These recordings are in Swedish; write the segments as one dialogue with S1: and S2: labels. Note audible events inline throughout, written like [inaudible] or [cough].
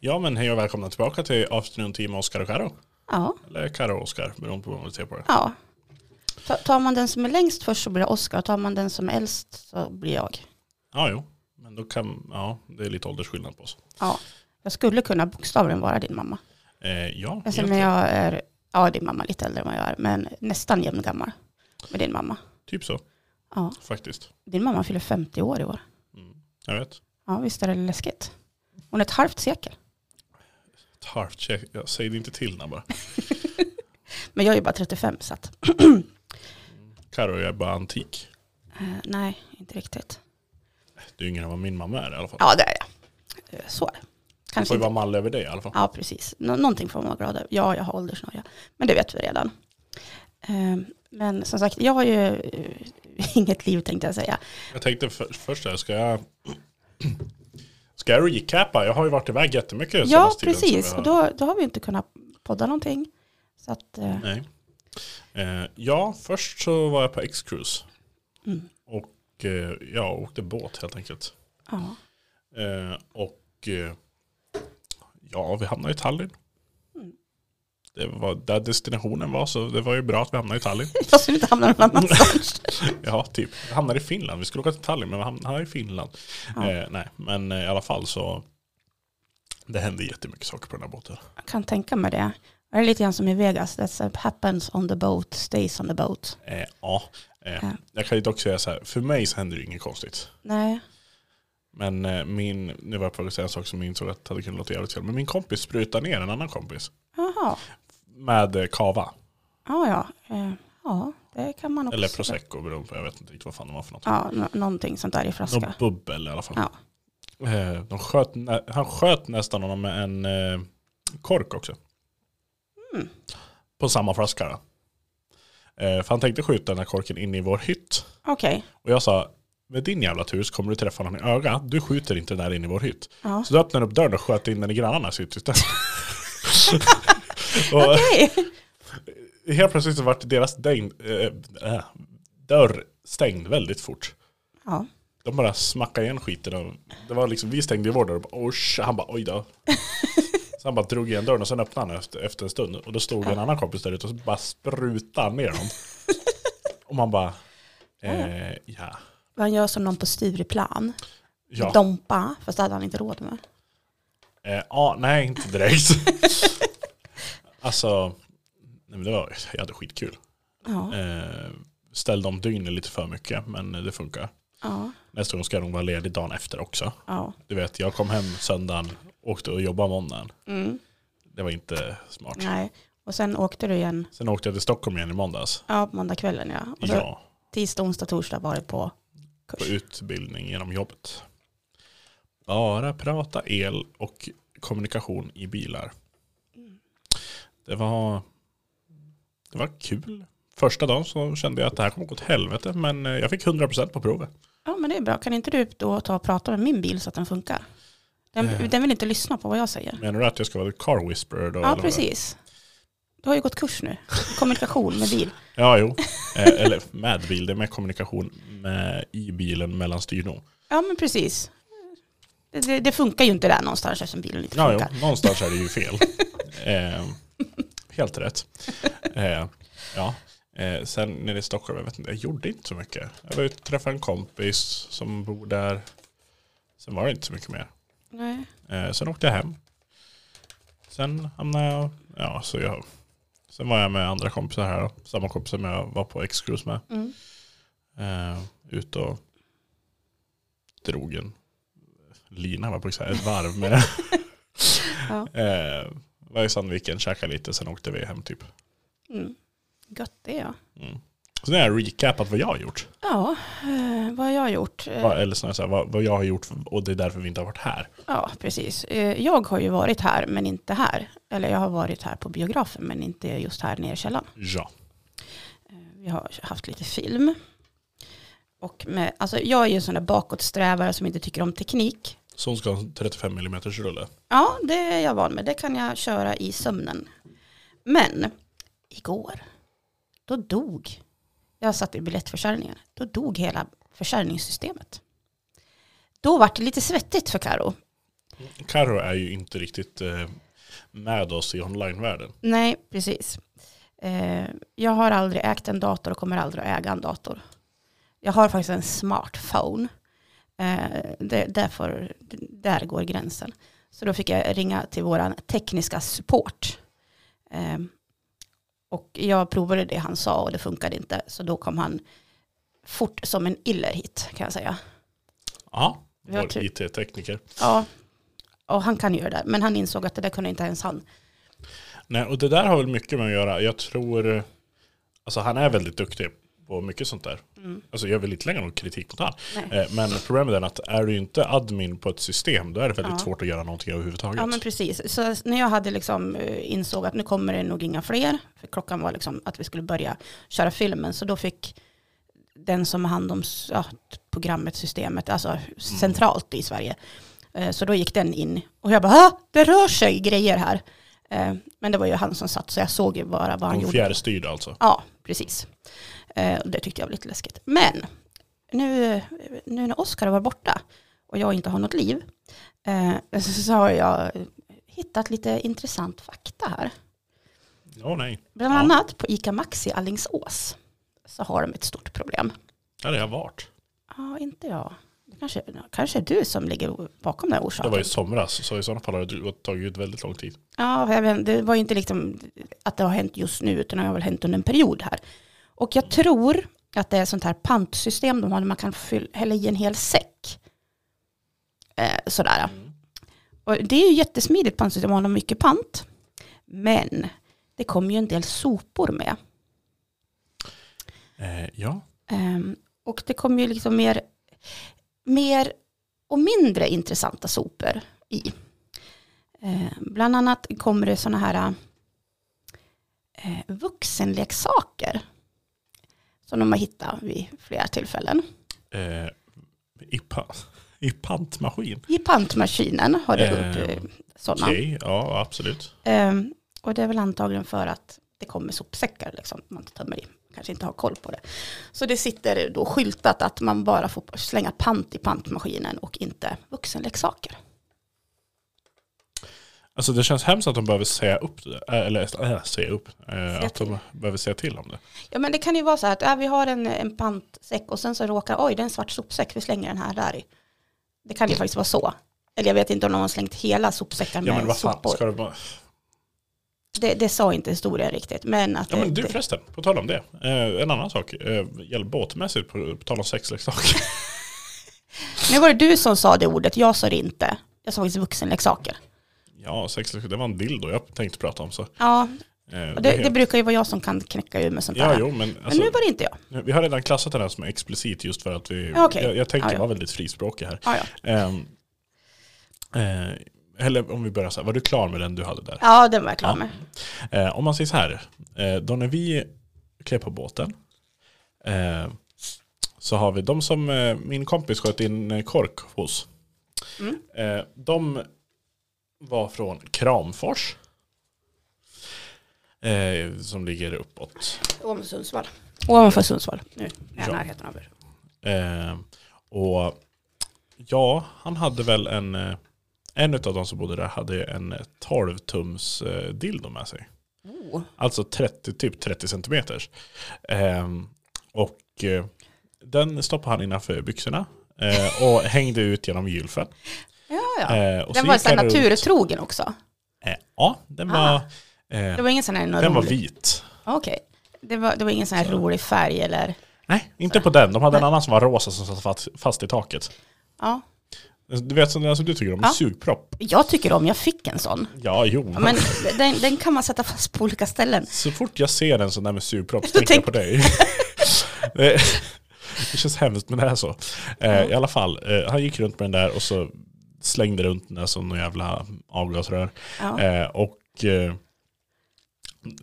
S1: Ja men hej och välkomna tillbaka till Afternoon Team Oscar och Karo.
S2: Ja.
S1: Eller Karo och Oscar, beroende på vad man ser på det.
S2: ja. Ta- Tar man den som är längst först så blir det Oscar. Tar man den som är äldst så blir jag.
S1: Ja jo, men då kan, ja det är lite åldersskillnad på oss.
S2: Ja. Jag skulle kunna bokstavligen vara din mamma.
S1: Eh, ja,
S2: Alltså,
S1: helt
S2: men
S1: rätt.
S2: jag är, ja din mamma är lite äldre än vad jag är, men nästan jämn gammal med din mamma.
S1: typ så
S2: Ja.
S1: faktiskt.
S2: Din mamma fyller 50 år i år.
S1: Mm. Jag vet.
S2: Ja, visst är det läskigt? Hon är ett halvt sekel.
S1: Ett halvt check, jag säger det inte till när bara.
S2: Men jag är ju bara 35 så att, [clears throat]
S1: Karo jag är bara antik.
S2: eh, nej, inte riktigt.
S1: Du är yngre än vad min mamma är i alla fall.
S2: Ja, det är jag. Eh, Så är det.
S1: Får
S2: Kanske
S1: ju
S2: inte.
S1: vara mall över dig i alla fall.
S2: Ja, precis. Nå- någonting får man vara glad över. Ja, jag har åldersnoja. Men det vet vi redan. Eh, Men som sagt, jag har ju eh, [laughs] inget liv tänkte jag säga.
S1: Jag tänkte för, först här, ska jag Ska jag recapa? Jag har ju varit iväg jättemycket
S2: Ja,
S1: senaste tiden, så
S2: precis.
S1: jag-
S2: Och då, då har vi inte kunnat podda någonting. Så att, eh,
S1: Nej. Eh, ja, först så var jag på X-Cruise.
S2: Mm.
S1: Och eh, ja, åkte båt helt enkelt.
S2: ja.
S1: Eh, och eh, ja, vi hamnade i Tallinn.
S2: Mm. [laughs]
S1: Det var där destinationen var, så det var ju bra att vi hamnade i
S2: [laughs]
S1: Tallinn.
S2: Fast vi inte hamnar någon annanstans.
S1: ja, typ. Vi hamnade i Finland. Vi skulle åka till Tallinn, men vi hamnade i Finland.
S2: Ja.
S1: Eh, nej, men eh, i alla fall så. Det hände jättemycket saker på den här båten.
S2: Jag kan tänka mig det. Det är lite grann som i Vegas. That happens on the boat, stays on the boat.
S1: Eh, ja, eh,
S2: Ja.
S1: jag kan ju dock säga så här. För mig så hände det ju inget konstigt.
S2: Nej.
S1: Men eh, min, nu var jag på väg att säga en sak som jag insåg att hade kunnat låta jävligt fel. Men min kompis sprutade ner en annan kompis
S2: Jaha.
S1: med eh, kava.
S2: Ja, ja. Eh, Ja, det kan man också.
S1: Eller prosecco beroende på, jag vet inte riktigt vad fan det var för något.
S2: Ja, nå- någonting sånt där i flaska.
S1: Någon bubbel i alla fall.
S2: Ja.
S1: Eh, De sköt, nä- han sköt nästan honom med en eh, kork också.
S2: Mm.
S1: På samma flaska. då. Eh, För han tänkte skjuta den här korken in i vår hytt.
S2: Okej.
S1: Och jag sa, med din jävla tur så kommer du träffa honom i ögat. Du skjuter inte den där in i vår hytt. [laughs]
S2: Ja.
S1: Så du öppnade upp dörren och sköt in den i grannarnas hytt istället. [laughs] och
S2: Okej.
S1: helt plötsligt så vart deras däng, eh, äh, dörr stängd väldigt fort.
S2: Ja.
S1: De bara smackade igen skiten. Och det var liksom, vi stängde ju vår dörr och bara, "Osh." han bara oj då. Så han bara drog igen dörren och sen öppnade han efter, efter en stund. Och då stod en annan kompis där ute och så bara sprutade han ner dem. Och man bara, eh, ja.
S2: Man gör som någon på Stureplan.
S1: Ja.
S2: Dompa, fast det hade han inte råd med.
S1: Eh, ah, nej, inte direkt. [laughs] alltså, nej, men det var, jag hade skitkul.
S2: Ja,
S1: Eh, ställde om dygnet lite för mycket, men det funkar.
S2: ja,
S1: Nästa gång ska jag nog vara ledig dagen efter också.
S2: ja.
S1: Du vet, jag kom hem söndagen, åkte och jobbade måndagen.
S2: Mm,
S1: Det var inte smart.
S2: nej. Och sen åkte du igen,
S1: Sen åkte jag till Stockholm igen i måndags.
S2: ja, på måndagskvällen ja. Och så
S1: Ja,
S2: tisdag, onsdag, torsdag var det på
S1: på
S2: kurs.
S1: utbildning genom jobbet. Bara prata el och kommunikation i bilar.
S2: Mm.
S1: Det var, det var kul. Första dagen så kände jag att det här kommer gå åt helvete men eh, jag fick 100% på provet.
S2: Ja, men det är bra. Kan inte du då ta och prata med min bil så att den funkar? Den,
S1: Eh.
S2: den vill inte lyssna på vad jag säger.
S1: Menar du att jag ska vara car whisperer då? eller
S2: Ja,
S1: vad?
S2: precis. Du har ju gått kurs nu. Kommunikation med bil.
S1: Ja, jo. Eh, Eller med bil, det är med kommunikation med, i bilen mellan styrdon.
S2: Ja, men precis. Det, det, det funkar ju inte där någonstans eftersom bilen inte
S1: Ja,
S2: funkar.
S1: jo, någonstans är det ju fel. eh, helt rätt. Eh, ja. eh, sen nere i Stockholm, jag vet inte, jag gjorde inte så mycket. Jag var ute och träffade en kompis som bor där. Sen var det inte så mycket mer.
S2: Nej.
S1: Eh, sen åkte jag hem. Sen hamnade jag, ja så jag, sen var jag med andra kompisar här då. Samma kompisar som jag var på X-cruise med.
S2: Mm.
S1: Eh, ut och drog en lina, var på att säga, ett varv med.
S2: [laughs] Ja.
S1: eh, var i Sandviken, käkade lite, sen åkte vi hem typ.
S2: Mm. Gött det ja.
S1: Mm. Så nu har jag recapat vad jag har gjort.
S2: Ja, eh, vad har jag gjort? Eh,
S1: Vad, eller snarare så här, vad, vad jag har gjort och det är därför vi inte har varit här.
S2: Ja, precis. Eh, Jag har ju varit här, men inte här. Eller jag har varit här på biografen, men inte just här nere i källaren.
S1: Ja.
S2: Eh, Vi har haft lite film. Och med, alltså jag är ju en sån där bakåtsträvare som inte tycker om teknik.
S1: Så hon ska ha en 35 mm rulle.
S2: Ja, det är jag van med. Det kan jag köra i sömnen. Men igår, då dog, jag satt i biljettförsäljningen, då dog hela försäljningssystemet. Då var det lite svettigt för Karo.
S1: Karo är ju inte riktigt eh, med oss i onlinevärlden.
S2: Nej, precis. Eh, jag har aldrig ägt en dator och kommer aldrig att äga en dator. Jag har faktiskt en smartphone. Eh, det, därför, där går gränsen. Så då fick jag ringa till vår tekniska support. Eh, och jag provade det han sa och det funkade inte. Så då kom han fort som en iller hit kan jag säga.
S1: Ja,
S2: Vi har typ-
S1: vår
S2: tur.
S1: it-tekniker.
S2: Ja, och han kan ju det där. Men han insåg att det där kunde inte ens han.
S1: Nej, och det där har väl mycket med att göra. Jag tror, eh, alltså han är väldigt duktig på mycket sånt där.
S2: Mm.
S1: Alltså jag vill inte lägga någon kritik mot han.
S2: Nej.
S1: Eh, Men problemet är att är du inte admin på ett system då är det väldigt
S2: Ja.
S1: svårt att göra någonting överhuvudtaget.
S2: Ja men precis. Så när jag hade liksom eh, insåg att nu kommer det nog inga fler, för klockan var liksom att vi skulle börja köra filmen, så då fick den som har hand om s- ja, programmet, systemet, alltså centralt i Sverige, eh, så då gick den in. Och jag bara, "Ah, det rör sig grejer här. Eh, Men det var ju han som satt, så jag såg ju bara vad han
S1: Hon
S2: gjorde.
S1: fjärrstyrd alltså.
S2: Ja, precis. Eh, och Det tyckte jag var lite läskigt. Men nu, nu när Oskar var borta och jag inte har något liv eh, så har jag hittat lite intressant fakta här.
S1: Ja, nej.
S2: Bland
S1: Ja.
S2: annat på ICA Maxi Allingsås så har de ett stort problem.
S1: Där har jag varit.
S2: Ja, inte jag. Det kanske, kanske är du som ligger bakom den här
S1: Det
S2: orsaken.
S1: var i somras, så i sådana fall har det gått- tagit väldigt lång tid.
S2: Ja, jag vet, det var ju inte liksom att det har hänt just nu, utan det har väl hänt under en period här. Och jag tror att det är sånt här pantsystem de har, där man kan fyll, hälla i en hel säck. Eh, sådär. Och det är ju jättesmidigt pantsystem, man har mycket pant. Men det kommer ju en del sopor med.
S1: Eh, ja,
S2: Ehm, och det kommer ju liksom mer, mer och mindre intressanta sopor i. Ehm, bland annat kommer det sådana här eh, vuxenleksaker som de har hittat vid flera tillfällen.
S1: eh, i, pa- [laughs] i pantmaskin.
S2: I pantmaskinen har det upp
S1: Ehm,
S2: eh, sådana.
S1: Okej, ja absolut.
S2: Ehm, och det är väl antagligen för att det kommer sopsäckar liksom, man tömmer i. Kanske inte har koll på det. Så det sitter då skyltat att man bara får slänga pant i pantmaskinen och inte vuxenleksaker.
S1: Alltså det känns hemskt att de behöver säga upp det. eh, Eller äh, säga upp. eh, att de
S2: till.
S1: behöver säga till om det.
S2: Ja men det kan ju vara så här att äh, vi har en, en pantsäck och sen så råkar, oj det är en svart sopsäck, vi slänger den här där i. Det kan ju faktiskt vara så. Eller jag vet inte om någon har slängt hela sopsäcken
S1: Ja
S2: med
S1: men vad fan,
S2: sopor.
S1: ska det bara...
S2: Det, det sa inte historien riktigt. Men att
S1: Ja
S2: det,
S1: men du
S2: det,
S1: förresten, på tal om det. Eh, en annan sak, eh, gäll båtmässigt, på, på tal om sexleksaker. [laughs]
S2: nu var det du som sa det ordet, jag sa det inte. Jag sa faktiskt vuxenleksaker.
S1: ja, sexleksaker, det var en dildo jag tänkte prata om. Så, eh,
S2: Ja,
S1: det
S2: Och
S1: är
S2: det, det
S1: helt-
S2: brukar ju vara jag som kan knäcka ur med sånt
S1: ja
S2: där.
S1: jo men
S2: men
S1: alltså,
S2: nu var det inte jag.
S1: vi har redan klassat den här som explicit just för att vi...
S2: Ja, okej.
S1: Jag, jag tänkte
S2: Ja, ja.
S1: vara väldigt frispråkig här.
S2: Ja, ja.
S1: Ehm, eh, eller om vi börjar så här, var du klar med den du hade där?
S2: ja den var jag klar
S1: Ja.
S2: med.
S1: Eh, om man säger så här, eh, då när vi klev på båten eh, så har vi de som eh, min kompis sköt in eh, kork hos.
S2: Mm.
S1: Eh, de var från Kramfors. Eh, som ligger uppåt.
S2: Ovanför Sundsvall. Ovanför Sundsvall. Nu är jag i
S1: Ja.
S2: närheten av er.
S1: Eh, och ja, han hade väl en, eh, en av de som bodde där hade en 12-tums eh, dildo med sig.
S2: Oh.
S1: Alltså 30, typ 30 centimeters. Ehm, och eh, den stoppade han innanför byxorna eh, och hängde ut genom gylfen.
S2: Ja, ja.
S1: Eh, och
S2: den
S1: så
S2: var
S1: gick
S2: så här
S1: han runt-
S2: naturtrogen också.
S1: Eh, ja, den
S2: Ah.
S1: var,
S2: Det
S1: eh,
S2: var ingen sån här någon
S1: den var
S2: rolig-
S1: vit.
S2: Ja, Okej. Det, var, det var ingen sån här rolig färg eller?
S1: Nej, inte på den. De hade en annan som var rosa som satt fast, fast i taket.
S2: Ja.
S1: Du vet som alltså, du tycker om,
S2: Ja.
S1: sugpropp.
S2: Jag tycker om, jag fick en sån.
S1: Ja, jo.
S2: Ja, Men den, den kan man sätta fast på olika ställen.
S1: Så fort jag ser en sån där med sugpropp så tänker jag på dig. [laughs] det det känns hemskt men det är så. Eh, I alla fall, eh, han gick runt med den där och så slängde runt den där som någon jävla avgasrör.
S2: Ja.
S1: Eh, och eh,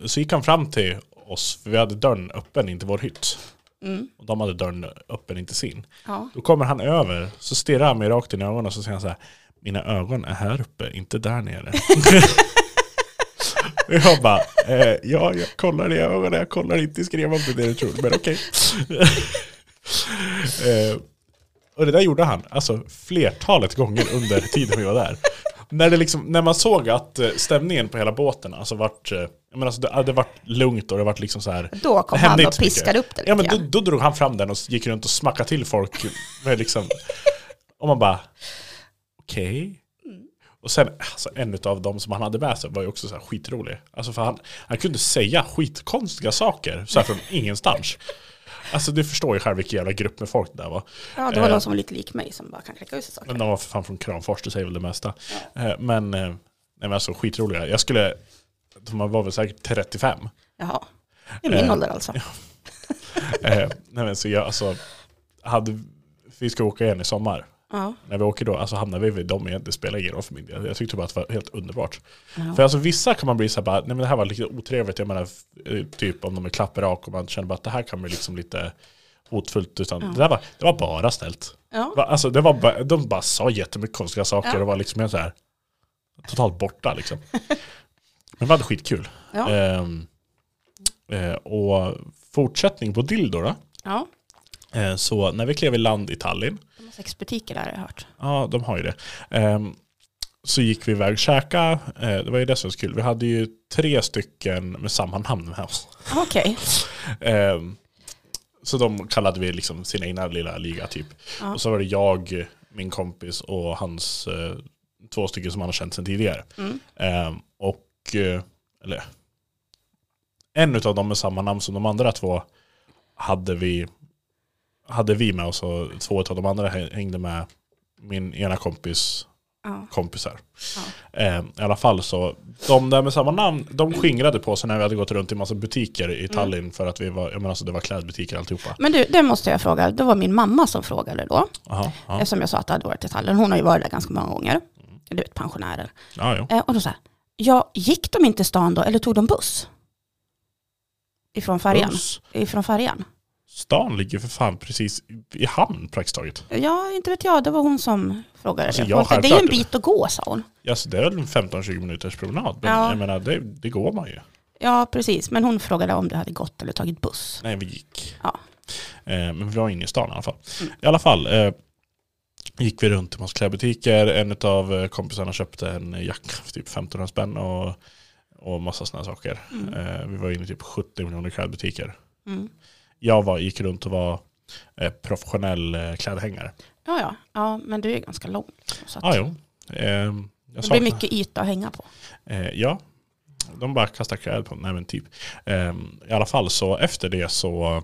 S1: så gick han fram till oss, för vi hade dörren öppen in till vår hytt.
S2: Mm.
S1: Och de hade dörren öppen in till sin.
S2: Ja.
S1: Då kommer han över, så stirrar han mig rakt in i ögonen och så säger han så här, mina ögon är här uppe, inte där nere. Och jag bara, eh, ja jag kollar i ögonen, jag kollar inte i skrev om det är det du tror, men
S2: [laughs]
S1: okej. eh, och det där gjorde han, alltså flertalet gånger under tiden vi var där. När, det liksom, när man såg att eh, stämningen på hela båten, alltså vart, eh, jag menar, alltså det hade varit lugnt och det varit liksom så här.
S2: Då kom
S1: Det hände
S2: han
S1: inte
S2: och
S1: så mycket.
S2: piskade upp det lite
S1: Ja men då,
S2: grann.
S1: då drog han fram den och gick runt och smackade till folk. Med liksom, och man bara, okej. Och sen, alltså, en av dem som han hade med sig var ju också så här skitrolig. Alltså för han, han kunde säga skitkonstiga saker så här från ingenstans. Alltså du förstår ju själv vilken jävla grupp med folk det där var.
S2: Ja, det var
S1: eh,
S2: någon som var lite lik mig som bara kan kläcka ut sig saker.
S1: Men de var för fan från Kramfors, det säger väl det mesta. Eh, Men, eh, nej men alltså skitroliga. Jag skulle, de var väl säkert 35.
S2: Jaha. Det är min
S1: Eh,
S2: ålder alltså.
S1: Eh, nej men så jag, alltså, hade, vi ska åka igen i sommar.
S2: Ja.
S1: När vi åker då, alltså hamnar vi vid dem igen, det spelar ingen roll för min del. Jag tyckte bara att det var helt underbart.
S2: Ja.
S1: För alltså vissa kan man bli så här bara, nej men det här var lite otrevligt, jag menar eh, typ om de är klapprak och man känner bara att det här kan bli liksom lite hotfullt. Utan det, där var, det var bara snällt.
S2: Ja.
S1: Va- Alltså det var bara, de bara sa jättemycket konstiga saker
S2: Ja.
S1: och var liksom helt så här totalt borta liksom. [laughs] Men det var skitkul.
S2: Ja.
S1: Ehm, eh, och fortsättning på dildo då.
S2: ja.
S1: Eh, så när vi klev i land i Tallinn,
S2: De har sex butiker där har jag hört.
S1: ja de har ju det, Ehm, så gick vi iväg och käkade. Eh, det var ju det som var så kul. Vi hade ju tre stycken med samma namn med oss.
S2: Okej.
S1: Ehm, så de kallade vi liksom sin egna lilla liga typ.
S2: Ja.
S1: Och så var det jag, min kompis och hans eh, två stycken som han har känt sedan tidigare.
S2: Mm.
S1: Ehm, och, eh, eller, en av dem med samma namn som de andra två hade vi, hade vi med oss och två av de andra hängde med min ena kompis
S2: Ja.
S1: kompisar. Ehm, I alla fall så, de där med samma namn, de skingrade på sig när vi hade gått runt i massa butiker i Tallinn för att vi var, jag menar alltså det var klädbutiker alltihopa.
S2: Men du, det måste jag fråga. Det var min mamma som frågade då.
S1: Aha, ja, Mm.
S2: Eftersom jag sa att det hade varit i Tallinn. Hon har ju varit där ganska många gånger. Du vet, pensionärer.
S1: ja, jo.
S2: Eh, och då så här, ja, gick de inte stan då eller tog de buss? Ifrån färjan?
S1: Buss.
S2: Ifrån färjan?
S1: Stan ligger för fan precis i hamn praktiskt taget.
S2: Ja, inte vet jag. Det var hon som frågade.
S1: Alltså,
S2: det.
S1: jag
S2: Hon- det är ju en
S1: självklart.
S2: bit att gå, sa hon.
S1: Alltså det är väl en 15-20 minuters promenad, men
S2: Ja.
S1: jag menar det, det går man ju.
S2: Ja, precis. Men hon frågade om du hade gått eller tagit buss.
S1: Nej, vi gick.
S2: Ja.
S1: Eh, men vi var inne i stan i alla fall. I alla fall eh, gick vi runt i massa klädbutiker. En av kompisarna köpte en jacka för typ 1500 spänn och, och massa sådana saker. Eh, vi var inne i typ 70 miljoner klädbutiker.
S2: Mm.
S1: Jag var, gick runt och var eh, professionell eh, klädhängare.
S2: Ja, ja. ja, men du är ganska lång. liksom, Så att
S1: Ah, jo. Eh, jag
S2: det blir
S1: saknar-
S2: mycket yta att hänga på.
S1: Eh, ja, de bara kastar kläder på Nej men typ. Eh, I alla fall så efter det så,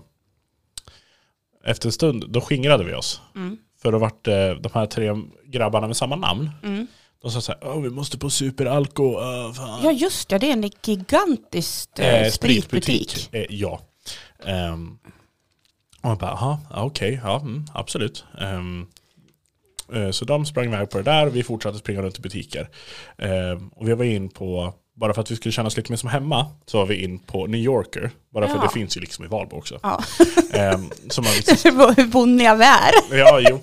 S1: efter en stund, då skingrade vi oss.
S2: Mm.
S1: För då vart eh, de här tre grabbarna med samma namn,
S2: Mm.
S1: de sa så här, "Åh, vi måste på superalko, uh, fan.
S2: Ja, just det. Det är en gigantisk eh,
S1: Eh,
S2: spritbutik.
S1: Eh, ja. Ehm, och jag bara, aha, ja, okej, ja, mm, absolut. Ehm, eh, så de sprang iväg på det där, vi fortsatte springa runt i butiker. Ehm, och vi var in på, bara för att vi skulle känna oss lite mer som hemma, så var vi in på New Yorker. Bara för
S2: Ja.
S1: det finns ju liksom i Valbo också.
S2: Ja. [laughs]
S1: Ehm, så man liksom,
S2: Hur bonniga vi är.
S1: ja, jo.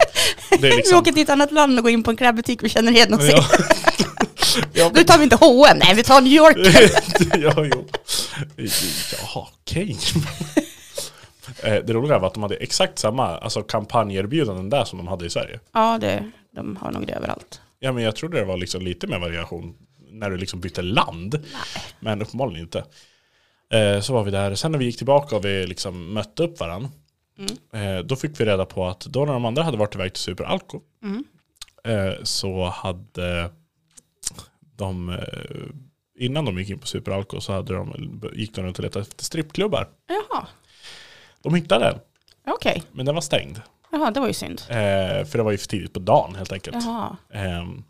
S1: Det är
S2: [laughs] Vi
S1: liksom...
S2: åker till ett annat land och går in på en klädbutik vi känner igen och ser.
S1: Ja. [laughs] Ja,
S2: Nu tar vi inte H&M, nej vi tar New York.
S1: [laughs] ja, jo. Jaha, okej. Eh, Det roliga var att de hade exakt samma alltså, kampanjerbjudanden där som de hade i Sverige.
S2: Ja, det, de har nog det överallt.
S1: Ja, men jag trodde det var liksom lite mer variation när du liksom bytte land. Men uppenbarligen inte. Eh, Så var vi där. Sen när vi gick tillbaka och vi liksom mötte upp varandra. Då fick vi reda på att då när de andra hade varit iväg till Superalko
S2: Mm.
S1: eh, så hade de, eh, innan de gick in på Superalko så hade de, gick de runt och letade efter strippklubbar.
S2: Jaha,
S1: De hittade en,
S2: okej.
S1: men den var stängd.
S2: Jaha, det var ju synd.
S1: Eh, För det var ju för tidigt på dagen helt enkelt.
S2: Jaha,
S1: Ehm,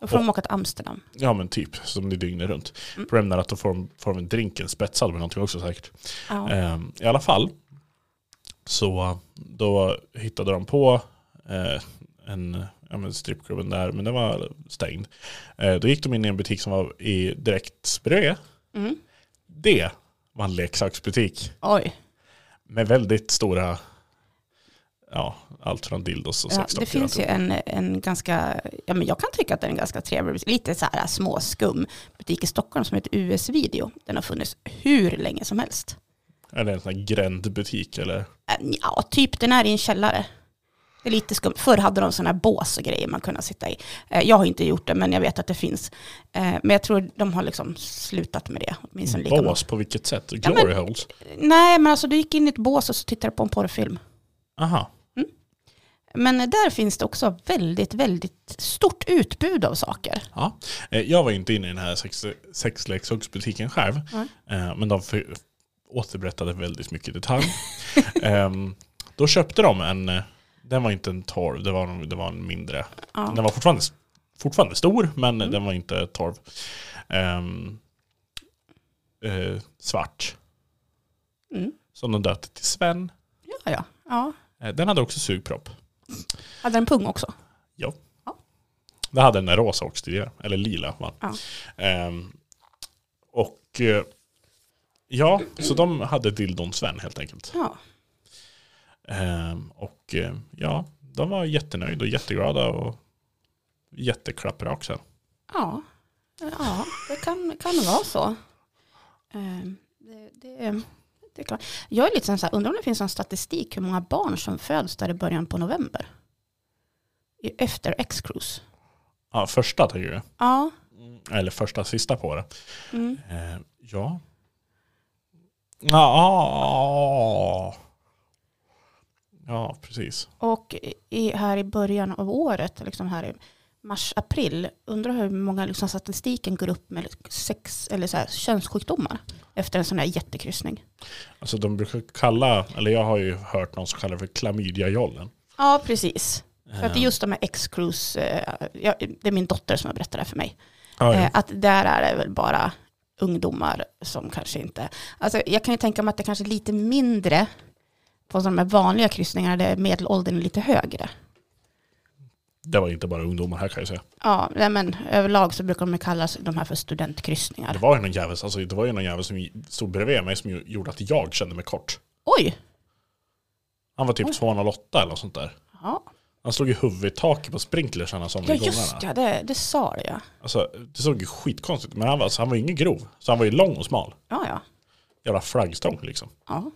S2: då får de åka till Amsterdam.
S1: Ja men typ, som det är dygnet runt.
S2: Mm.
S1: Problemet är att då får de, får de drinken spetsad med någonting också säkert.
S2: Ja.
S1: Ehm, I alla fall, så då hittade de på eh, en ja, men strippklubben där, men den var stängd. Eh, då gick de in i en butik som var i direkt bredvid.
S2: Mm.
S1: Det var en leksaksbutik
S2: Oj,
S1: med väldigt stora, ja, allt från dildos och
S2: ja,
S1: sexdockor.
S2: det finns ju en, en ganska, ja men jag kan tycka att den är ganska trevlig, lite så här småskum butik i Stockholm som heter US Video. Den har funnits hur länge som helst.
S1: Är det en sån här grändbutik eller?
S2: Äh, Ja, typ den är i en källare. Det är lite skumt. Förr hade de sådana här bås och grejer man kunde sitta i. Eh, Jag har inte gjort det, men jag vet att det finns. Eh, Men jag tror de har liksom slutat med det. Åtminstone lika många.
S1: Bås, på vilket sätt? Glory holes?
S2: Nej, men alltså du gick in i ett bås och så tittade du på en porrfilm.
S1: Aha.
S2: Men där finns det också väldigt, väldigt stort utbud av saker.
S1: Ja. Eh, Jag var ju inte inne i den här sex, sexleksaksbutiken själv.
S2: Nej.
S1: Eh, Men de för, återberättade väldigt mycket i detalj. [laughs] Ehm, Då köpte de en, eh, den var inte en torv, det var, en- det var en mindre.
S2: Ja.
S1: Den var fortfarande, fortfarande stor, men
S2: Mm.
S1: den var inte torv. Ehm, eh, svart.
S2: Mm.
S1: Som de döpte till Sven.
S2: Ja, ja. ja.
S1: Eh, Den hade också sugpropp.
S2: Hade den pung också?
S1: Det hade den där rosa också tidigare, eller lila. Va?
S2: Ja.
S1: Ehm, och eh, ja, så de hade dildon Sven helt enkelt.
S2: Ja.
S1: Ehm, och eh, ja, de var jättenöjda och jätteglada och jätteklappraka sen.
S2: Ja, ja det kan, kan vara så. Ehm, Det, det, det är klart. Jag är lite sån så här, undrar om det finns någon statistik hur många barn som föds där i början på november. I- Efter X-cruise.
S1: Ja, första tar ju,
S2: Ja.
S1: eller första sista på det.
S2: Mm.
S1: Ehm, ja. Ja, ja, precis.
S2: Och i, här i början av året, liksom här i mars, april, undrar hur många liksom statistiken går upp med sex eller så här, könssjukdomar efter en sån här jättekryssning.
S1: Alltså de brukar kalla, eller jag har ju hört någon som kallar det för klamydiajollen.
S2: Ja, precis. För att det är just de här X-cruise, eh, jag- det är min dotter som har berättat det här för mig.
S1: Ja, ja.
S2: Eh, Att där är det väl bara ungdomar som kanske inte... Alltså jag kan ju tänka mig att det kanske är lite mindre på de här vanliga kryssningarna där medelåldern är lite högre.
S1: Det var inte bara ungdomar här kan jag säga.
S2: Ja, nej men överlag så brukar de ju kallas de här för studentkryssningar.
S1: Det var ju någon jävel, alltså, det var ju någon jävel som stod bredvid mig som ju- gjorde att jag kände mig kort.
S2: Oj!
S1: Han var typ
S2: Oj.
S1: 208 eller något sånt där.
S2: Ja,
S1: Han slog ju huvudet i taket på sprinklersarna som
S2: ja
S1: ja,
S2: just
S1: gångarna.
S2: ja, det, det sa du ja.
S1: Alltså, det såg ju skitkonstigt ut. Men han var, alltså, han var ju ingen grov. Så han var ju lång och smal.
S2: Ja, ja.
S1: Jävla flaggstång liksom.
S2: ja.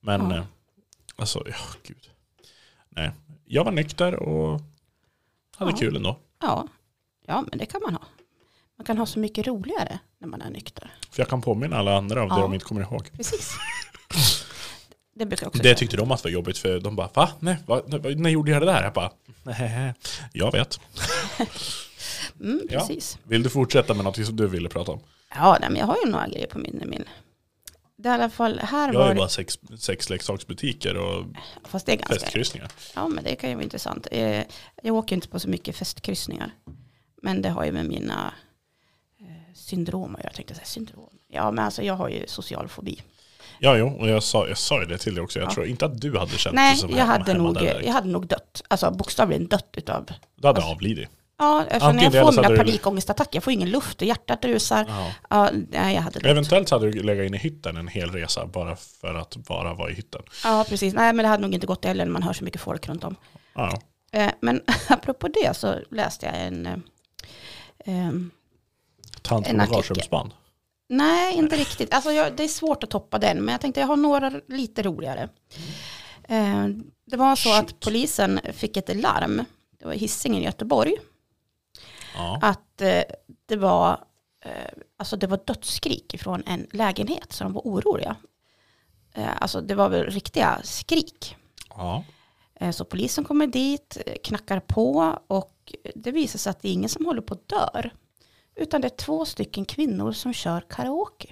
S1: Men
S2: Ja.
S1: eh, alltså, ja gud. Nej, jag var nykter och hade
S2: Ja.
S1: kul ändå.
S2: Ja, ja men det kan man ha. Man kan ha så mycket roligare när man är nykter.
S1: För jag kan påminna alla andra om det
S2: Ja.
S1: de inte kommer ihåg.
S2: Precis. Det brukar jag också
S1: Det
S2: göra.
S1: tyckte de att var jobbigt för de bara va? Nej, va? Nej, när gjorde jag det där? Jag bara, nej, jag vet.
S2: mm,
S1: Ja.
S2: precis.
S1: Vill du fortsätta med något som du ville prata om?
S2: Ja, nej, men jag har ju några grejer på min. min. Det är i alla fall, här
S1: Jag har
S2: var
S1: ju
S2: det,
S1: bara sex, sex leksaksbutiker och
S2: fast det är ganska,
S1: festkryssningar.
S2: ja men det kan ju vara intressant. Eh, Jag åker ju inte på så mycket festkryssningar. Men det har ju med mina eh, syndrom att göra, tänkte jag säga syndrom. Ja, men alltså jag har ju social fobi.
S1: Ja, jo, och jag sa, jag sa ju det till dig också. Jag
S2: Ja.
S1: tror inte att du hade känt
S2: Nej,
S1: dig som
S2: jag
S1: hemma-
S2: hade,
S1: hemma
S2: nog,
S1: där direkt.
S2: jag hade nog dött. Alltså bokstavligen dött utav,
S1: Du hade avlidit.
S2: ja, eftersom när
S1: Antingen
S2: jag
S1: det eller
S2: får
S1: så
S2: mina
S1: hade du-
S2: panikångestattacker, jag får ingen luft och hjärtat rusar.
S1: Ja.
S2: Ja, nej, jag hade dött.
S1: Eventuellt så hade du legat in i hytten en hel resa bara för att bara vara i hytten.
S2: Ja, precis. Nej, men det hade nog inte gått heller när man hör så mycket folk runt om.
S1: Ja.
S2: Eh, Men [laughs] apropå det så läste jag en... eh, ehm,
S1: Tant på
S2: En artikel.
S1: bagagerumsband.
S2: nej, inte riktigt. Alltså jag, det är svårt att toppa den, men jag tänkte jag har några lite roligare. Eh, det var så
S1: Shoot.
S2: att polisen fick ett larm, det var i Hisingen i Göteborg,
S1: Ja.
S2: att eh, det var, eh, alltså det var dödsskrik från en lägenhet, så de var oroliga. Eh, alltså det var väl riktiga skrik.
S1: ja.
S2: Eh, Så polisen kommer dit, eh, knackar på och det visar sig att det är ingen som håller på att dör. Utan det är två stycken kvinnor som kör karaoke.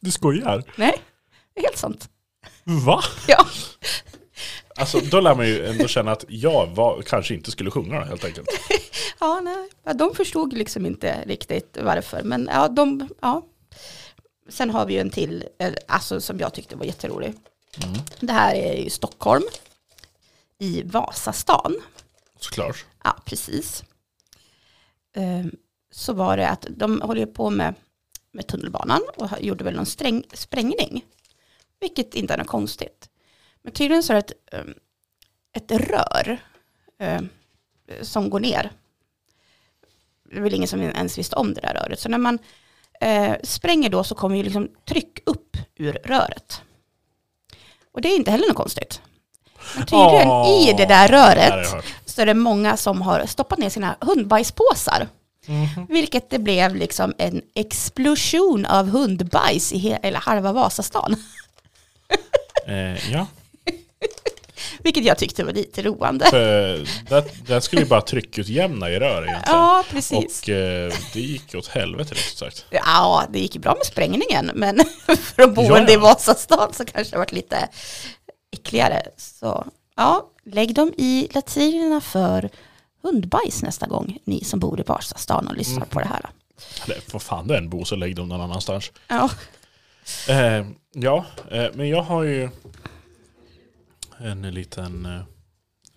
S1: Du skojar?
S2: Nej, det är helt sant.
S1: Va?
S2: Ja,
S1: Alltså då lär man ju ändå känna att jag var, kanske inte skulle sjunga då, helt enkelt.
S2: ja nej. Ja, de förstod liksom inte riktigt varför. Men ja, de, ja. Sen har vi ju en till, eh, alltså som jag tyckte var jätterolig. Det här är i Stockholm, i Vasastan.
S1: Såklart.
S2: Ja, precis. Ehm, Så var det att de håller ju på med, med tunnelbanan och ha- gjorde väl någon sträng, sprängning. Vilket inte är något konstigt. Men tydligen så är det ett, ehm, ett rör ehm, som går ner. Det är väl ingen som ens visste om det där röret. Så när man eh, spränger då så kommer ju liksom tryck upp ur röret. Och det är inte heller något konstigt. Men tydligen
S1: Åh.
S2: i det där
S1: Det här har jag
S2: röret
S1: hört.
S2: så är det många som har stoppat ner sina hundbajspåsar.
S1: Mhm.
S2: Vilket det blev liksom en explosion av hundbajs i he- eller halva Vasastan.
S1: Eh, ja,
S2: Vilket jag tyckte var lite roande.
S1: för det, det skulle ju bara tryckutjämna i rör egentligen.
S2: [laughs] Ja, precis.
S1: Och eh, det gick åt helvete riktigt sagt.
S2: Ja, det gick ju bra med sprängningen, men [laughs] för de boende
S1: Ja, ja.
S2: i Vasastan så kanske det varit lite äckligare. Så ja, lägg dem i latrinerna för hundbajs nästa gång, ni som bor i Vasastan och lyssnar på det
S1: Mm.
S2: här.
S1: Eller vad fan det är en bo så lägg dem någon annanstans.
S2: Ja,
S1: Eh, ja, eh, men jag har ju en liten, eh,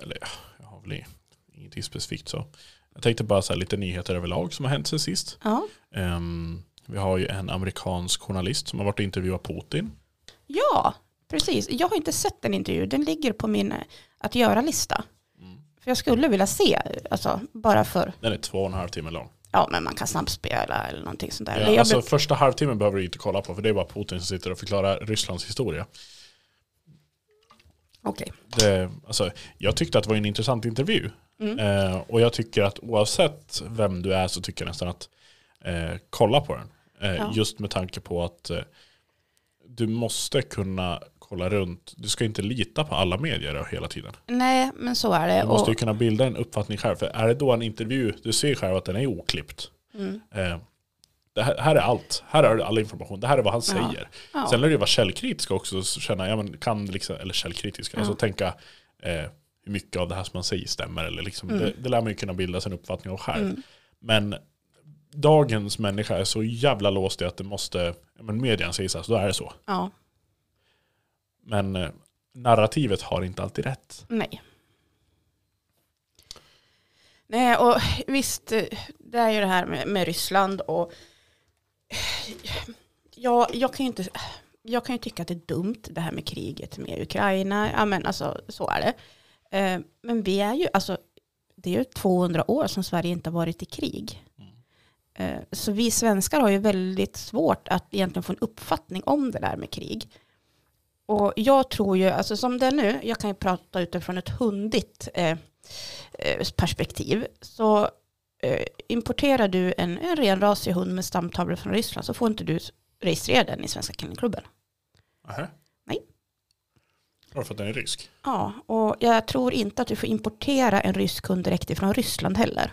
S1: eller ja, jag har väl i- ingenting specifikt så. Jag tänkte bara så här lite nyheter överlag som har hänt sen sist.
S2: ja.
S1: Ehm, vi har ju en amerikansk journalist som har varit och intervjuat Putin.
S2: ja precis. Jag har inte sett den intervjun, den ligger på min eh, att göra-lista.
S1: Mm.
S2: För jag skulle vilja se, alltså bara för,
S1: Den är två och en halv timme lång.
S2: ja men man kan snabbspela eller någonting sånt där. Eller
S1: Ja,
S2: jag
S1: alltså,
S2: bruk-
S1: första halvtimmen behöver du inte kolla på för det är bara Putin som sitter och förklarar Rysslands historia.
S2: Okej.
S1: det, alltså, jag tyckte att det var en intressant intervju.
S2: Mm.
S1: Eh, och jag tycker att oavsett vem du är så tycker jag nästan att eh, kolla på den. Eh,
S2: Ja.
S1: Just med tanke på att eh, du måste kunna kolla runt. Du ska inte lita på alla medier hela tiden.
S2: Nej, men så är det.
S1: Du måste ju kunna bilda en uppfattning själv. För är det då en intervju, du ser ju själv att den är oklippt.
S2: Mm.
S1: Eh, det här, här är allt. Här har du all information. Det här är vad han
S2: Ja.
S1: säger.
S2: Ja.
S1: Sen lär det ju vara källkritisk också. Så känna, ja, men kan liksom, eller källkritisk, alltså tänka eh, hur mycket av det här som man säger stämmer. Eller liksom,
S2: Mm.
S1: det, det lär man ju kunna bilda sin uppfattning av själv. Men dagens människa är så jävla låst i att det måste, ja, men medien säger så här, så då är det så.
S2: Ja,
S1: Men eh, narrativet har inte alltid rätt.
S2: nej. Nej, och visst, eh, det är ju det här med, med Ryssland och ja, jag kan ju inte, jag kan ju tycka att det är dumt det här med kriget med Ukraina, ja men alltså så är det. Eh, Men vi är ju, alltså det är ju 200 år som Sverige inte har varit i krig. Eh, Så vi svenskar har ju väldigt svårt att egentligen få en uppfattning om det där med krig. Och jag tror ju, alltså som det är nu, jag kan ju prata utifrån ett hundigt eh, eh, perspektiv, så eh, importerar du en, en renrasig hund med stamtavlor från Ryssland så får inte du s- registrera den i Svenska Kennelklubben.
S1: Aha.
S2: Nej.
S1: Bara för att den är rysk.
S2: Ja, och jag tror inte att du får importera en rysk hund direkt ifrån Ryssland heller.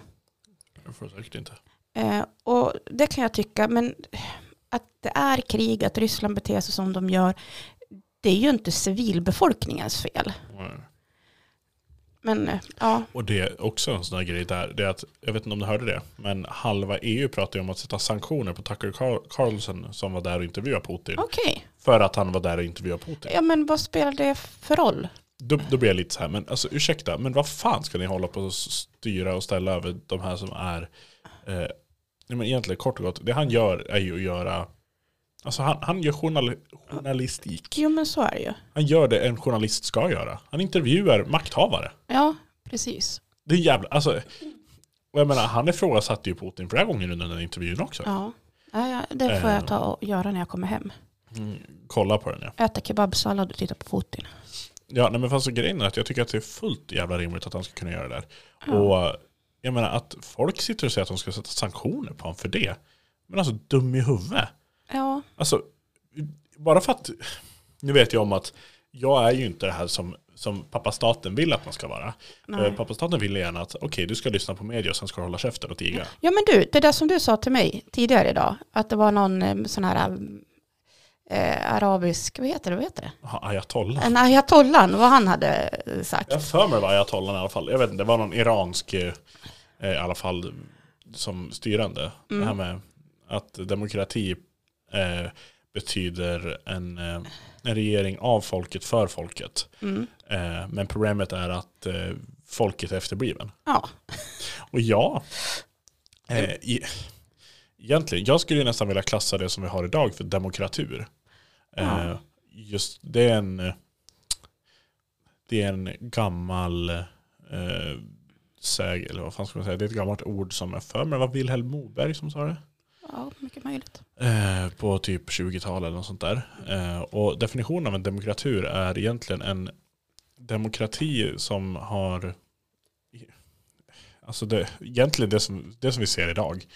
S1: Jag får säkert inte.
S2: Eh, och det kan jag tycka, men att det är krig, att Ryssland beter sig som de gör, det är ju inte civilbefolkningens fel.
S1: Nej.
S2: Men eh, ja,
S1: Och det är också en sån här grej där, det är att, jag vet inte om du hörde det, men halva EU pratar ju om att sätta sanktioner på Tucker Carl- Carlson som var där och intervjuade Putin.
S2: okej.
S1: För att han var där och intervjuade Putin.
S2: Ja, men vad spelar det för roll?
S1: Då, då blir jag lite så här, men alltså ursäkta, men vad fan ska ni hålla på och styra och ställa över de här som är, eh, nej men egentligen kort och gott, det han gör är ju att göra, alltså han, han gör journal, journalistik.
S2: Jo, men så är det ju.
S1: Han gör det en journalist ska göra. Han intervjuar makthavare.
S2: Ja, precis.
S1: Det är jävla, alltså. Och jag menar, han ifrågasatte ju Putin flera gånger under den här intervjun också.
S2: Ja. Ja, ja, det får jag ta och göra när jag kommer hem.
S1: Kolla på den ja.
S2: Äta kebabsallad och titta på Putin.
S1: Ja, nej, men fast grejen är att jag tycker att det är fullt jävla rimligt att han ska kunna göra det där. Och jag menar att folk sitter och säger att de ska sätta sanktioner på honom för det. Men alltså dum i huvudet.
S2: Ja,
S1: Alltså, bara för att, nu vet jag om att jag är ju inte det här som, som pappa staten vill att man ska vara.
S2: Nej.
S1: Eh, Pappa staten vill gärna att, okej du ska lyssna på media och sen ska du hålla käften och tiga.
S2: Ja men du, det där som du sa till mig tidigare idag, att det var någon eh, sån här eh, arabisk, vad heter det, vad heter det?
S1: Jaha, Ayatollah.
S2: En ayatollan, vad han hade eh, sagt.
S1: Jag har för mig det var ayatollan i alla fall. Jag vet inte, det var någon iransk eh, i alla fall som styrande. Det här med att demokrati eh, betyder en, eh, en regering av folket för folket. Eh, men problemet är att eh, folket är efterbliven.
S2: Ja,
S1: Och ja, eh, i, egentligen, jag skulle ju nästan vilja klassa det som vi har idag för demokratur. Eh, just det är en, det är en gammal eh, säg, eller vad fan ska man säga, det är ett gammalt ord som är för mig, det var Vilhelm Moberg som sa det.
S2: ja mycket möjligt.
S1: Eh, på typ 20-talet eller något sånt där. Eh, och definitionen av en demokratur är egentligen en demokrati som har, alltså det, egentligen det som, det som vi ser idag,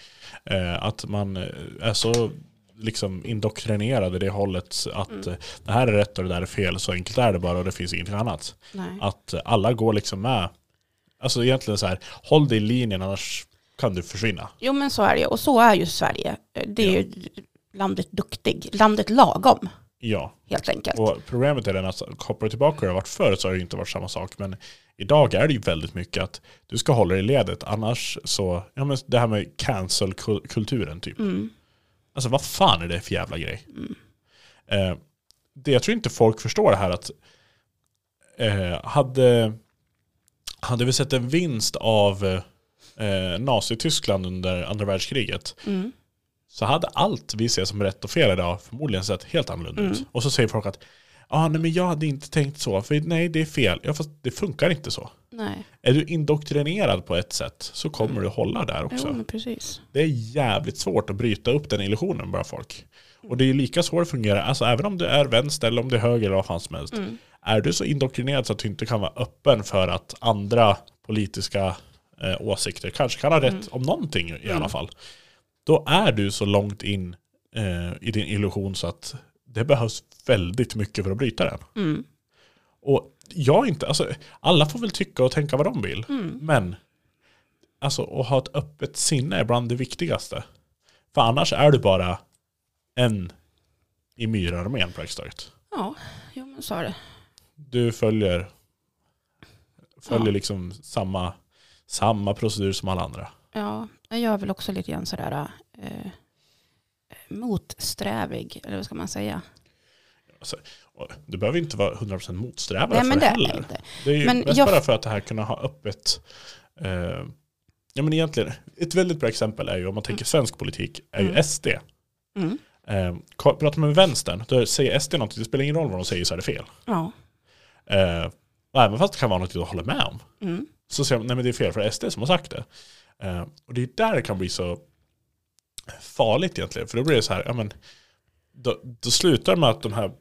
S1: eh, att man eh, är så liksom indoktrinerad i det hållet att
S2: Mm.
S1: eh, det här är rätt och det där är fel, så enkelt är det bara och det finns ingenting annat.
S2: Nej.
S1: Att eh, alla går liksom med, alltså egentligen så här, håll dig i linjen annars kan du försvinna.
S2: Jo men så är det ju. Och så är ju Sverige. Det är
S1: Ja.
S2: ju landet duktig, landet lagom
S1: Ja,
S2: helt enkelt.
S1: och problemet är den att kopplar du tillbaka hur det har varit förut så har det ju inte varit samma sak. Men idag är det ju väldigt mycket att du ska hålla dig i ledet annars så, ja men det här med cancel-kulturen typ.
S2: Mm.
S1: Alltså vad fan är det för jävla grej?
S2: Mm.
S1: Eh, det, jag tror inte folk förstår det här att eh, hade, hade vi sett en vinst av eh, Nazityskland under andra världskriget
S2: Mm.
S1: så hade allt vi ser som rätt och fel idag förmodligen sett helt annorlunda ut. Och så säger folk att ah, nej, men jag hade inte tänkt så, för nej det är fel. Ja fast det funkar inte så.
S2: Nej.
S1: Är du indoktrinerad på ett sätt så kommer du hålla där också.
S2: Jo men precis.
S1: Det är jävligt svårt att bryta upp den illusionen bara folk. Och det är ju lika svårt att fungera, alltså även om du är vänster eller om du är höger eller vad fan som helst.
S2: Mm.
S1: Är du så indoktrinerad så att du inte kan vara öppen för att andra politiska eh, åsikter kanske kan ha rätt om någonting i alla fall. Då är du så långt in eh, i din illusion så att det behövs väldigt mycket för att bryta den.
S2: Mm.
S1: Och jag är inte, alltså, alla får väl tycka och tänka vad de vill.
S2: mm.
S1: Men alltså, att ha ett öppet sinne är bland det viktigaste. För annars är du bara en i myrarmén praktiskt taget.
S2: Ja, jo men så är det.
S1: Du följer, följer
S2: Ja.
S1: liksom samma, samma procedur som alla andra.
S2: Ja, jag är väl också lite grann sådär eh, motsträvig, eller vad ska man säga?
S1: Och Du behöver inte vara 100% motsträvare
S2: Nej
S1: för
S2: men det är jag
S1: heller.
S2: inte.
S1: Det är ju
S2: Men
S1: mest
S2: jag-
S1: bara för att det här kunna ha öppet. Eh, ja men egentligen, ett väldigt bra exempel är ju om man tänker svensk politik, är ju
S2: Mm.
S1: SD.
S2: Mm.
S1: Eh, ko- pratar man med vänstern, då säger SD någonting, det spelar ingen roll vad de säger så är det fel.
S2: Ja.
S1: Eh, och även fast det kan vara något du håller med om,
S2: Mm.
S1: så säger de nej men det är fel för det är SD som har sagt det. Eh, och det är där det kan bli så farligt egentligen, för då blir det så här, ja men då, då slutar det med att de här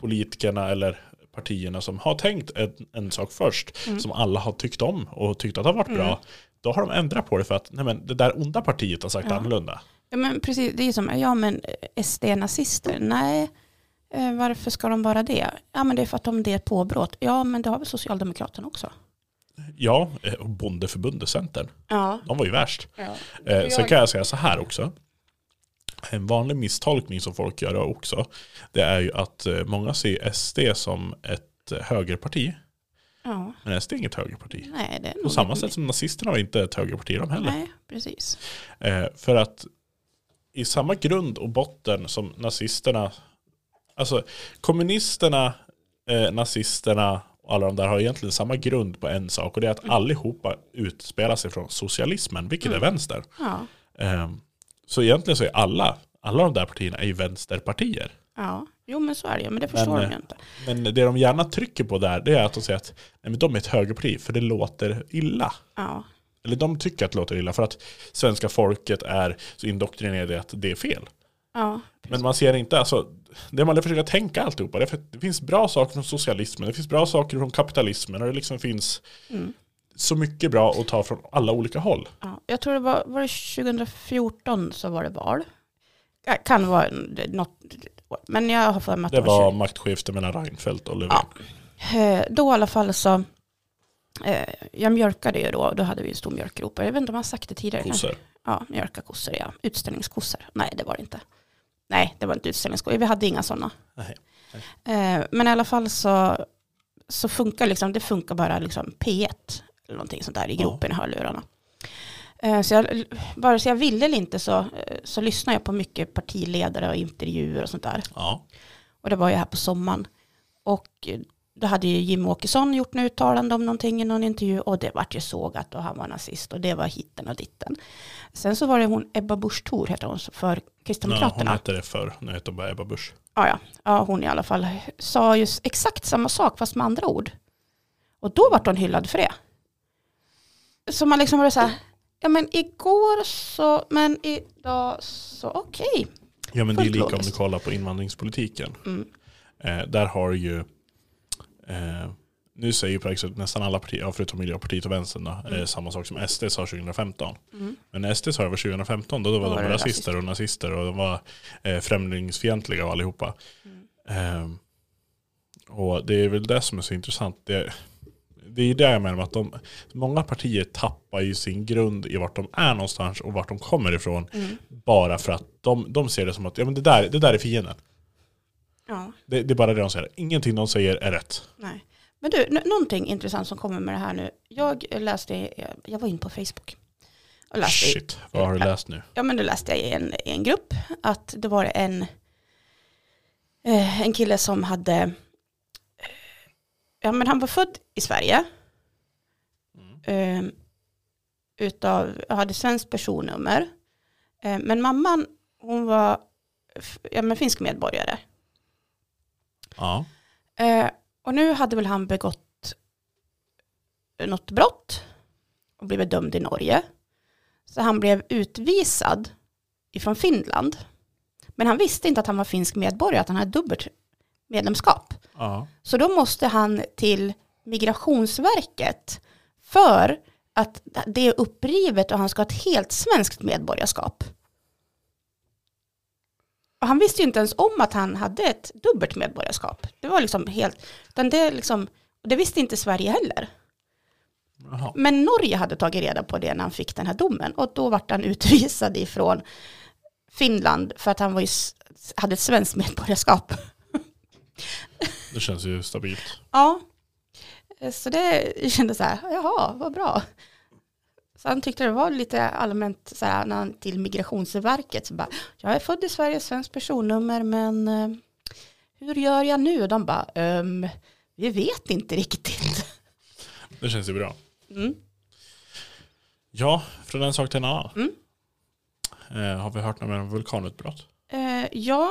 S1: politikerna eller partierna som har tänkt en, en sak först,
S2: Mm.
S1: som alla har tyckt om och tyckt att har varit
S2: Mm.
S1: bra, då har de ändrat på det för att nej men, det där onda partiet har sagt
S2: Ja.
S1: annorlunda.
S2: ja men precis, det är som, ja men eh, SD-nazister, nej. Eh, varför ska de vara det? Ja men det är för att de det är ett påbrott. Ja men det har väl Socialdemokraterna också.
S1: Ja, eh, och Bondeförbundet, Centern,
S2: Ja.
S1: de var ju värst.
S2: ja.
S1: Eh,
S2: Och
S1: sen
S2: jag-
S1: kan jag säga så här också. En vanlig misstolkning som folk gör också, det är ju att eh, många ser SD som ett eh, högerparti,
S2: ja.
S1: men SD är inget högerparti.
S2: Nej, det är
S1: På
S2: nog
S1: samma
S2: lite
S1: sätt som nazisterna var inte ett högerparti de
S2: mer.
S1: heller.
S2: Nej, precis.
S1: Eh, för att i samma grund och botten som nazisterna, alltså kommunisterna, eh, nazisterna och alla de där har egentligen samma grund på en sak och det är att
S2: Mm.
S1: allihopa utspelar sig från socialismen, vilket
S2: Mm.
S1: är vänster.
S2: Ja.
S1: Ehm, Så egentligen så är alla, alla de där partierna är ju vänsterpartier.
S2: ja. Jo men så är det ju, men det förstår
S1: eh,
S2: de ju inte.
S1: Men det de gärna trycker på där det är att de säger att nej, men de är ett högerparti för det låter illa.
S2: Ja.
S1: Eller de tycker att det låter illa för att svenska folket är så indoktrinerade i att det är fel.
S2: Ja.
S1: Men man ser inte, alltså, det man försöker tänka alltihopa, det, är för att det finns bra saker från socialismen, det finns bra saker från kapitalismen och det liksom finns
S2: Mm.
S1: så mycket bra att ta från alla olika håll.
S2: Ja, jag tror det var, var det 2014 så var det val. Ja, Kan vara en- något, men jag har för mig att
S1: Det var maktskifte mellan Reinfeldt och Löfven.
S2: Ja. 20. Eh, Då i alla fall så, eh, jag mjölkade ju då, då hade vi en stor mjölkgropa. Jag vet inte om jag har sagt det tidigare. kanske.
S1: Kossor.
S2: Ja, mjölka kossor ja. Utställningskossor. Nej, det var det inte. Nej, det var inte utställningskossor. Vi hade inga sådana.
S1: Nej.
S2: Eh, Men i alla fall så, så funkar liksom, det funkar bara liksom P1 eller någonting sånt där i
S1: Ja.
S2: gropen i hörlurarna. Eh, Så jag, vare sig jag ville eller inte så, eh, så lyssnade jag på mycket partiledare och intervjuer och sånt där.
S1: Ja.
S2: Och det var ju här på sommaren. Och eh, då hade ju Jim Åkesson gjort något uttalande om någonting i någon intervju och det vart ju sågat och han var nazist och det var hitten och ditten. Sen så var det hon Ebba Busch Thor heter hon för
S1: Ja, hon
S2: Kristdemokraterna.
S1: hette det förr, nu heter hon bara Ebba Busch.
S2: ja, ja. ja, hon i alla fall sa just exakt samma sak fast med andra ord. Och då vart hon hyllad för det. Så man liksom var så här, ja men igår så, men idag så, okej.
S1: Ja men det är
S2: Fullt
S1: lika om du
S2: logiskt.
S1: Eh, kollar på invandringspolitiken.
S2: Mm.
S1: Eh, där har ju eh, nu säger ju praktiskt taget nästan alla partier, ja, förutom Miljöpartiet och Vänstern, då, eh,
S2: Mm.
S1: samma sak som SD sa 2015.
S2: Mm.
S1: Men SD sa över 2015, då, då var
S2: Då var
S1: de
S2: det
S1: rasister och nazister och de var eh, främlingsfientliga och allihopa.
S2: Mm.
S1: Ehm, och det är väl det som är så intressant. Det, det är det jag menar med att de, många partier tappar ju sin grund i vart de är någonstans och vart de kommer ifrån.
S2: Mm.
S1: Bara för att de, de ser det som att ja, men det, där, det där är fienden.
S2: Ja,
S1: Det, det är bara det de säger. Ingenting de säger är rätt.
S2: nej. Men du, n- någonting intressant som kommer med det här nu. Jag läste, jag var inne på Facebook. Och läste
S1: Shit, vad har du läst nu?
S2: ja men då läste jag i en, i en grupp att det var en, eh, en kille som hade, eh, ja men han var född i Sverige, eh, utav, hade svenskt personnummer, eh, men mamman hon var f- ja, men finsk medborgare.
S1: Ja.
S2: Eh, och nu hade väl han begått något brott och blivit dömd i Norge. Så han blev utvisad ifrån Finland. Men han visste inte att han var finsk medborgare, att han hade dubbelt medlemskap.
S1: ja.
S2: Så då måste han till Migrationsverket för att det är upprivet och han ska ha ett helt svenskt medborgarskap. Och han visste ju inte ens om att han hade ett dubbelt medborgarskap. Det var liksom helt, utan det, är liksom, och det visste inte Sverige heller.
S1: Jaha.
S2: Men Norge hade tagit reda på det när han fick den här domen och då vart han [laughs] utvisad ifrån Finland för att han var ju, s- hade ett svenskt medborgarskap.
S1: Det känns ju stabilt.
S2: Ja, Eh, så det kändes så här, jaha, vad bra. Så han tyckte det var lite allmänt så här, när han till Migrationsverket, så bara, jag är född i Sverige, svenskt personnummer, men eh, hur gör jag nu? De bara, ehm, vi vet inte riktigt.
S1: Det känns ju bra.
S2: Mm.
S1: Ja, från en sak till en annan.
S2: Mm.
S1: Eh, har vi hört något mer om vulkanutbrott?
S2: Eh, ja,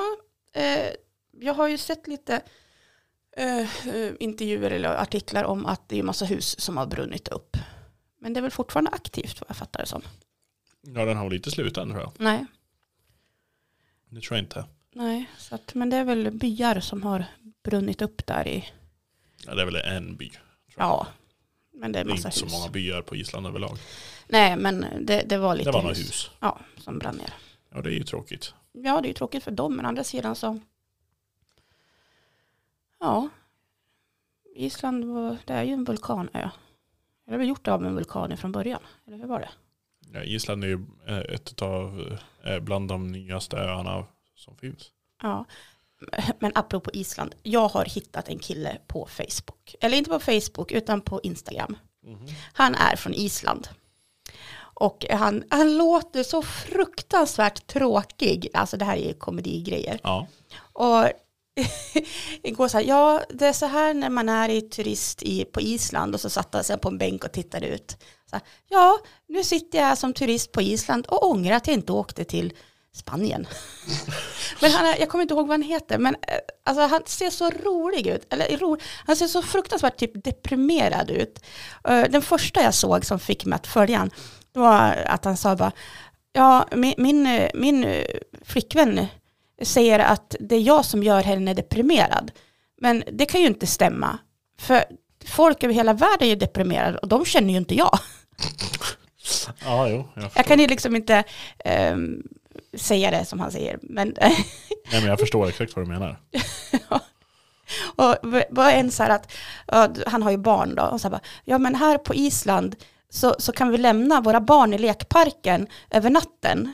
S2: eh, jag har ju sett lite eh, eh, intervjuer eller artiklar om att det är massa hus som har brunnit upp. Men det är väl fortfarande aktivt vad jag fattar det som.
S1: Ja, den har väl inte slut än tror jag.
S2: Nej.
S1: Det tror jag inte.
S2: Nej, så att, men det är väl byar som har brunnit upp där i,
S1: Ja, det är väl en by.
S2: ja, men det är
S1: Det är
S2: massa
S1: inte
S2: hus.
S1: så många byar på Island överlag.
S2: Nej, men det, det var lite
S1: Det var några hus.
S2: Ja, som brann ner.
S1: Ja, det är ju tråkigt.
S2: Ja, det är ju tråkigt för dem, men å andra sidan så, ja, Island var, det är ju en vulkanö. Det är väl gjort av en vulkan från början, eller hur var det?
S1: Ja, Island är ju eh, ett av eh, bland de nyaste öarna som finns.
S2: Ja, men apropå Island, jag har hittat en kille på Facebook, eller inte på Facebook, utan på Instagram. Han är från Island. Och han, han låter så fruktansvärt tråkig. Alltså det här är ju komedigrejer.
S1: Ja.
S2: Och [laughs] igår så här, ja det är så här när man är i turist i, på Island och så satt han sig på en bänk och tittade ut. Så här, ja, nu sitter jag som turist på Island och ångrar att jag inte åkte till Spanien. men han är, jag kommer inte ihåg vad han heter, men eh, alltså, han ser så rolig ut. Eller, ro, han ser så fruktansvärt typ deprimerad ut. Eh, den första jag såg som fick mig att följa han, det var att han sa bara, ja, min, min, eh, min eh, flickvän säger att det är jag som gör henne deprimerad. Men det kan ju inte stämma. För folk över hela världen är ju deprimerade och de känner ju inte jag.
S1: Ja, jo. Jag förstår.
S2: Jag kan ju liksom inte ehm, säga det som han säger. Men [laughs]
S1: Nej, men jag förstår exakt vad du menar.
S2: och v- var en så här att, ja, d- han har ju barn då, och så här bara, ja men här på Island så, så kan vi lämna våra barn i lekparken över natten.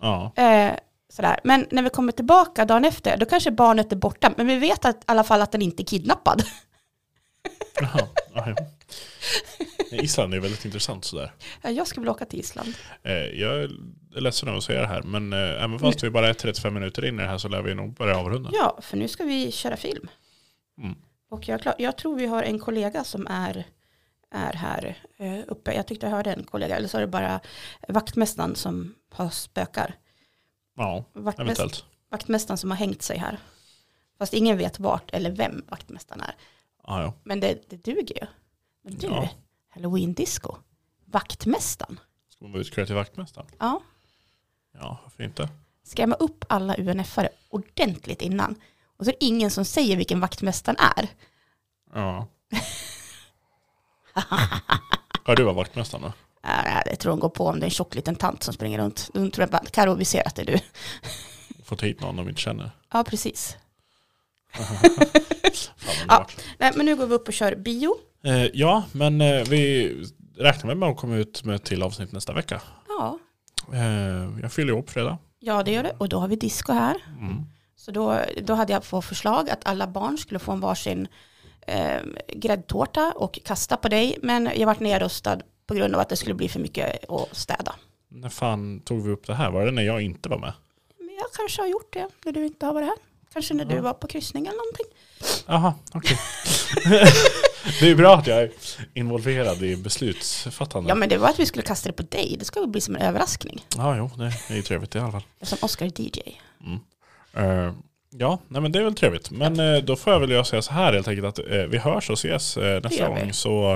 S1: Ja.
S2: Eh, sådär. Men när vi kommer tillbaka dagen efter, då kanske barnet är borta. Men vi vet att, i alla fall att den inte är kidnappad.
S1: Jaha. Ja, jo. Nej, Island är väldigt intressant sådär.
S2: Ja, Jag skulle vilja åka till Island.
S1: Eh, Jag är ledsen över att säga det här, men eh, även fast vi bara är 35 minuter in i det här så lär vi nog börja avrunda.
S2: Ja, för nu ska vi köra film.
S1: Mm.
S2: Och jag, är klar, jag tror vi har en kollega som är, är här eh, uppe. Jag tyckte jag hörde en kollega, eller så är det bara vaktmästaren som har spökar.
S1: Ja,
S2: Vaktmäst,
S1: eventuellt.
S2: vaktmästaren som har hängt sig här. Fast ingen vet vart eller vem vaktmästaren är.
S1: Ja, ja.
S2: Men det, det duger ju. Men du,
S1: Ja.
S2: halloween disco, vaktmästaren.
S1: Ska man vara utklädd till vaktmästaren?
S2: Ja,
S1: Ja, varför inte?
S2: skrämma upp alla UNF-are ordentligt innan. Och så är det ingen som säger vilken vaktmästaren är.
S1: Ja. Ja, du var vaktmästaren då?
S2: Äh, jag tror hon går på om det är en tjock liten tant som springer runt. Hon tror jag bara, Karo vi ser att det är du.
S1: Får ta hit någon de inte känner.
S2: Ja, precis.
S1: Fan, vad
S2: Ja.
S1: underbart.
S2: Nej, men nu går vi upp och kör bio.
S1: Eh, ja, men eh, vi räknar med att komma ut med ett till avsnitt nästa vecka.
S2: Ja.
S1: Eh, jag fyller ihop fredag.
S2: ja, det gör det. Och då har vi disco här.
S1: Mm.
S2: Så då, då hade jag på förslag att alla barn skulle få en varsin eh, gräddtårta och kasta på dig. Men jag vart nedröstad på grund av att det skulle bli för mycket att städa.
S1: När fan tog vi upp det här? Var det när jag inte var med?
S2: Men jag kanske har gjort det när du inte har varit här. Kanske när du
S1: Ja.
S2: var på kryssning eller någonting.
S1: Jaha, okej. [laughs] det är ju bra att jag är involverad i beslutsfattande.
S2: Ja, men det var att vi skulle kasta det på dig. Det ska väl bli som en överraskning.
S1: Ja, jo, det är ju trevligt i alla fall.
S2: Som Oscar är DJ.
S1: Eh, ja, nej, men det är väl trevligt. Men eh, då får jag väl jag säga så här helt enkelt att eh, vi hörs och ses eh, nästa
S2: gör vi.
S1: gång. Så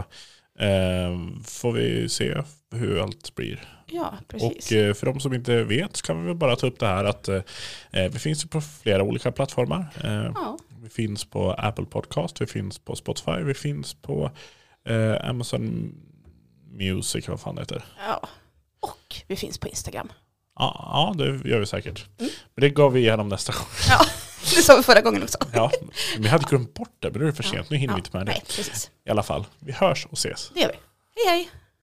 S1: eh, får vi se hur allt blir.
S2: Ja, precis.
S1: Och eh, för de som inte vet så kan vi väl bara ta upp det här att eh, eh, vi finns ju på flera olika plattformar. Eh,
S2: ja,
S1: Vi finns på Apple Podcast, vi finns på Spotify, vi finns på eh, Amazon Music, vad fan det heter.
S2: ja. Och vi finns på Instagram.
S1: Ja, ja, det gör vi säkert. Men det går vi igenom nästa gång.
S2: Ja, [laughs] det sa vi förra gången också.
S1: Ja, men vi hade glömt bort det, men nu är det för sent. Nu hinner vi inte med det.
S2: Nej, precis.
S1: I alla fall, vi hörs och ses.
S2: Det gör vi. Hej, hej.